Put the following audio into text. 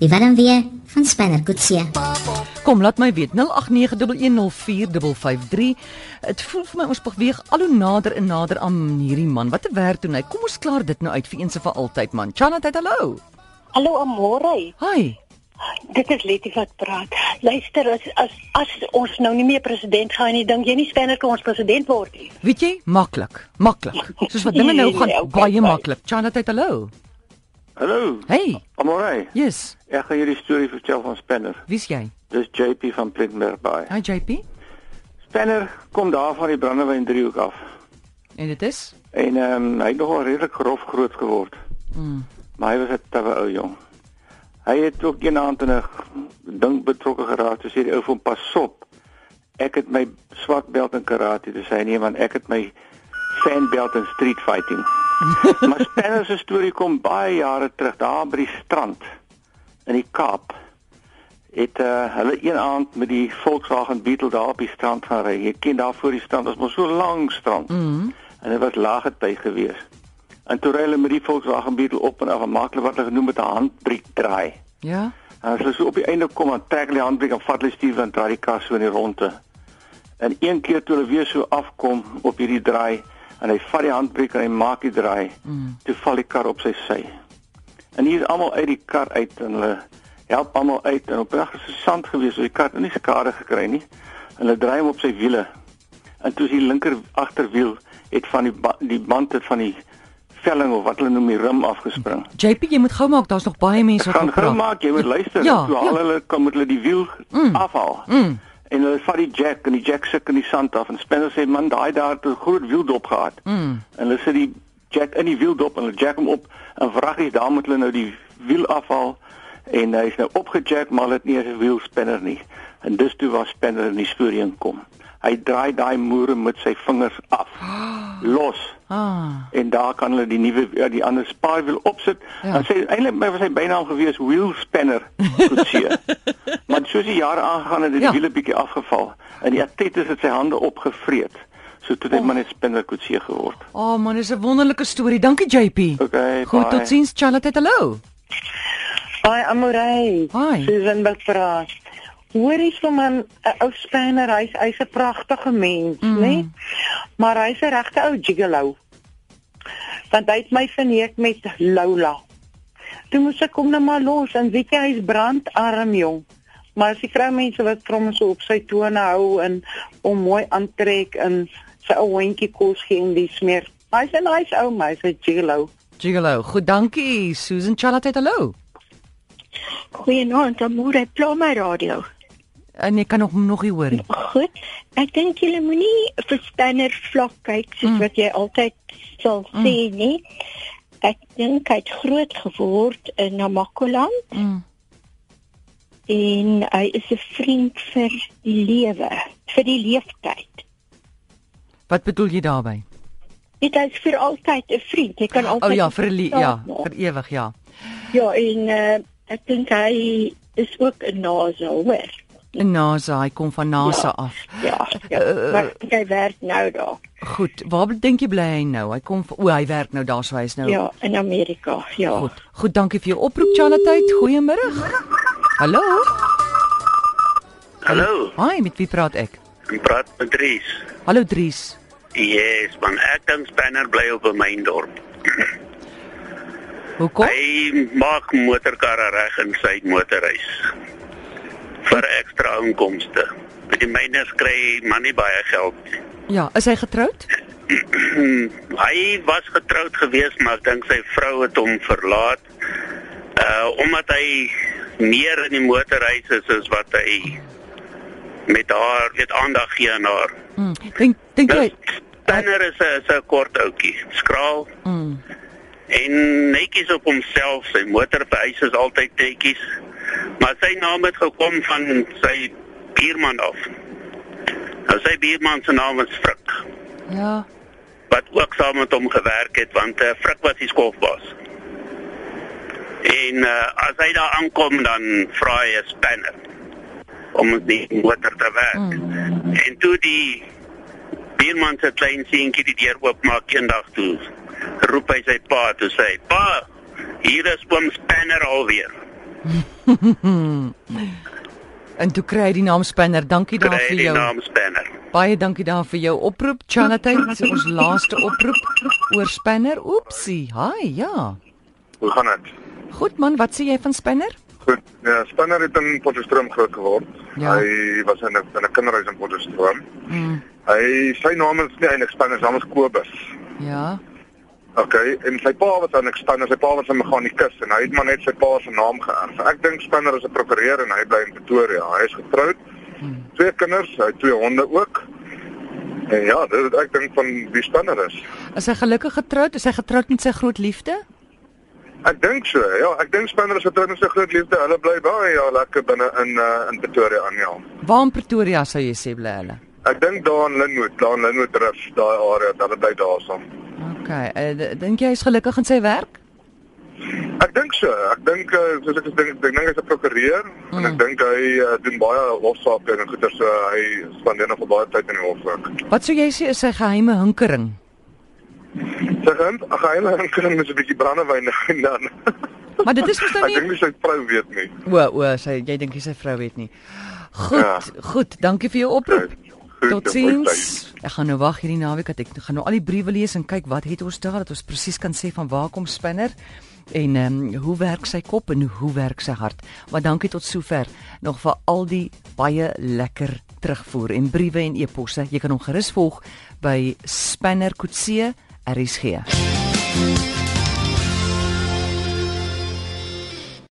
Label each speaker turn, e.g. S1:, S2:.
S1: Ivan weer van Spanner Kutsia.
S2: Kom laat my weet 0891104553. Dit voel vir my ons beweeg al hoe nader en nader aan hierdie man. Wat 'n werk doen hy? Kom ons klaar dit nou uit vir eens en vir altyd man. Chanat, hallo.
S3: Hallo Amore.
S2: Hi.
S3: Dit is Letty wat praat. Luister, as as, as ons nou nie meer president gaan nie, dink jy nie Spanner kan ons president word nie.
S2: Weet jy? Maklik. Maklik. Soos wat dinge nou
S3: Nee,
S2: gaan
S3: nee, okay,
S2: baie
S3: fine.
S2: maklik. Chanat, hallo.
S4: Hallo.
S2: Hey.
S4: Amorey.
S2: Yes.
S4: Ek gaan jullie storie vertel van Spanner.
S2: Wie's jy?
S4: Dis JP van Plettenberg Bay.
S2: Hi JP.
S4: Spanner kom daar van die Brandewyn driehoek af.
S2: En dit is
S4: En ehm hy het nogal redelik grof groot geword.
S2: Mm.
S4: Maar hy was 'n tawe ou jong. Hy het ook een aand in 'n ding betrokke geraak. Toe sê die ou van pas op. Ek het my swart belt in karate. Toe sê hy nee man, ek het my fan belt in street fighting. maar Spanner se storie kom baie jare terug daar by die strand in die Kaap. Het uh, hulle een aand met die Volkswagen Beetle daar op die strand gaan ry. Jy ken daar voor die strand, dit is mos so lank strand.
S2: mm.
S4: En dit was lage tyd geweest. En toe ry hulle met die Volkswagen Beetle op en af en maak hulle wat hulle genoem het 'n handbriek draai.
S2: Ja.
S4: En as hulle so op die einde kom, dan trek hulle die handbriek en vat hulle stuur en draai die kar so in die ronde. En een keer toe hulle weer so afkom op hierdie draai en hy vat die handbriek en hy maak die draai,
S2: Mm.
S4: toe val die kar op sy sy. En hier is almal uit die kar uit en hulle help almal uit en op 'n dag is dit sand gewees, so die kar het nie skade gekry nie. En hulle draai hom op sy wiele. En toe is die linker agterwiel het van die ba die band het van die velling of wat hulle noem die rim afgespring.
S2: JP, jy moet gou maak, daar's nog baie mense wat
S4: Gaan
S2: wil
S4: gou
S2: praat.
S4: maak, Nou, jy moet luister.
S2: Ja,
S4: toe haal
S2: ja.
S4: hulle kom met hulle die wiel
S2: Mm.
S4: afhaal.
S2: Mm.
S4: En hulle vat die jack en die jack suk in die sand af en Spencer sê man, daai daar het 'n groot wieldop gehad.
S2: Mm.
S4: En hulle sit die jack in die wieldop en hulle jack hom op en wraggies daar moet hulle nou die wiel afhaal en hy is nou opgejack maar hulle het nie eens 'n wielspinner nie. En dis toe waar spinner in die storie inkom. Hy draai daai moere met sy vingers af. Los
S2: Ah.
S4: en daar kan hulle die nuwe ja, die ander spaarwiel opsit.
S2: Ja.
S4: Ja. Dan sê eintlik my was hy bynaam gewees wheel spanner kutsie. maar soos die jare aangegaan het, het die
S2: Ja.
S4: ja. wiele bietjie afgeval en die atleet het sy hande opgevreet. So toe het hy oh. maar net spinner kutsie geword.
S2: Oh man, dis 'n wonderlike storie. Dankie JP.
S4: Okay,
S2: Goed,
S4: bye.
S2: totsiens Charlotte. Hallo.
S3: Ai Amore.
S2: Hi.
S3: Susan wat praat. Hoor eens van 'n ou spanner, hy's hy's 'n pragtige mens, mm. né? Maar hy's 'n regte ou gigolo. Want hy het my verneek met Lola. Toe moes ek hom nou maar los en weet jy hy's brandarm jong. Maar as die vroumense wat vir hom so op sy tone hou en hom mooi aantrek en sy ou hondjie kos gee en die smeer. Hy's 'n nice ou mens, hy's 'n gigolo.
S2: Gigolo. Goed, dankie Susan. Charlotte, hallo.
S5: Goeienaand, Amore Plama Radio.
S2: En ek kan nog nog nie hoor nie.
S5: Goed. Ek dink julle moenie vir Spanner vlak kyk soos
S2: Mm.
S5: mm. wat jy altyd sal
S2: Mm.
S5: mm. sê nie. Ek dink hy het groot geword in Namakoland
S2: Mm.
S5: en hy is 'n vriend vir die lewe, vir die leeftyd.
S2: Wat bedoel jy daarmee?
S5: Dit is vir altyd 'n vriend. Jy kan altyd
S2: O oh, ja, vir die, ja,
S5: Ja,
S2: vir ewig, ja.
S5: ja en uh, ek dink hy is ook 'n NASA, hoor.
S2: En NASA, hy kom van NASA af.
S5: Ja, ja.
S2: Eh,
S5: Uh, maar ek dink hy werk nou daar.
S2: Goed, waar dink jy bly hy nou? Hy kom van- o, hy werk nou daar so hy's nou.
S5: Ja, in Amerika. Ja.
S2: Goed. Goed, dankie vir jou oproep Charlotte. Goeiemôre. Hallo.
S6: Hallo,
S2: Hi, met wie praat ek?
S6: ek praat met Dries.
S2: Hallo Dries.
S6: Yes, man, ek dink Spanner bly op in my dorp.
S2: Hoekom?
S6: Hy maak motorkarre reg in sy motorhuis vir ekstra inkomste. By die myners kry hy man nie baie geld. nie.
S2: Ja, is hy getroud?
S6: hy was getroud gewees, maar ek dink sy vrou het hom verlaat. Uh omdat hy meer in die motorhuis is as wat hy met haar, weet aandag gee aan haar.
S2: Mm. Dink dink
S6: Nou,
S2: jy?
S6: Spanner is 'n is 'n kort ouetjie, skraal
S2: Mm.
S6: en netjies op homself. Sy motor by huis is altyd netjies. Maar sy naam het gekom van sy buurman af. Nou sy buurman se naam is Frik,
S2: Ja.
S6: wat ook saam met hom gewerk het want uh, Frik was die skofbaas. En uh, as hy daar aankom dan vra hy 'n spanner om die motor te werk. Mm. En toe die buurman se klein seentjie die deur oopmaak eendag toe roep hy sy pa toe sê hy, "Pa, Hier is oom Spanner alweer.
S2: En toe kry hy die naam Spanner. Dankie
S6: Kry
S2: daarvoor
S6: die
S2: jou.
S6: naam Spanner.
S2: Baie dankie daar vir jou oproep. Chanatay, dit is ons laaste oproep oor Spanner. Oepsie. Hi, ja.
S7: Hoe gaan dit?
S2: Goed man, wat sê jy van Spanner?
S7: Goed. Ja, Spanner het in Potchefstroom groot geword.
S2: Ja.
S7: Hy was in 'n in 'n kinderhuis in Potchefstroom. Hy sy naam is nie eintlik Spanner, sy naam is Kobus.
S2: Ja.
S7: Okay, en sy pa was eintlik Spanner, sy pa was 'n meganikus en hy het maar net sy pa se naam geërf. Ek dink Spanner is 'n prokureur en hy bly in Pretoria. Hy is getroud. Twee kinders, hy het twee honde ook. En ja, dit is wat ek dink van wie Spanner is.
S2: Is hy gelukkig getroud? Is hy getroud met sy groot liefde?
S7: Ek dink so. Ja, ek dink Spanner is getroud met sy groot liefde. Hulle bly baie ja, lekker binne in uh, in Pretoria aan ja.
S2: Waar in Pretoria sou jy sê bly hulle?
S7: Ek dink daar in Linwood, daar in Linwood Rif, daai area, dat bly daarsom.
S2: OK. eh, d- Dink jy hy is gelukkig in sy werk?
S7: Ek dink so. Ek dink eh, soos ek dink, ek dink hy's 'n prokureur mm. en ek dink hy uh, doen baie hofsaake en goeie so hy spandeer nog baie tyd in die hof ook.
S2: Wat sou jy sê is sy geheime hinkering?
S7: Sy gaan gaan hy kan mens 'n bietjie brandewyn en dan.
S2: Maar dit is mos nou
S7: ek
S2: nie
S7: dink nie sy vrou weet nie.
S2: O, o, sy jy dink sy vrou weet nie. Goed, ja.
S7: Ja.
S2: goed, dankie vir jou oproep.
S7: Ja, goed,
S2: Tot
S7: dan
S2: sins. Ek gaan nou wag hierdie naweek dat ek gaan nou al die briewe lees en kyk wat het ons daar dat ons presies kan sê van waar kom Spinner en ehm um, hoe werk sy kop en hoe werk sy hart. Maar dankie tot sover nog vir al die baie lekker terugvoer en briewe en eposse. Jy kan hom gerus volg by Spinner Kutse RSG.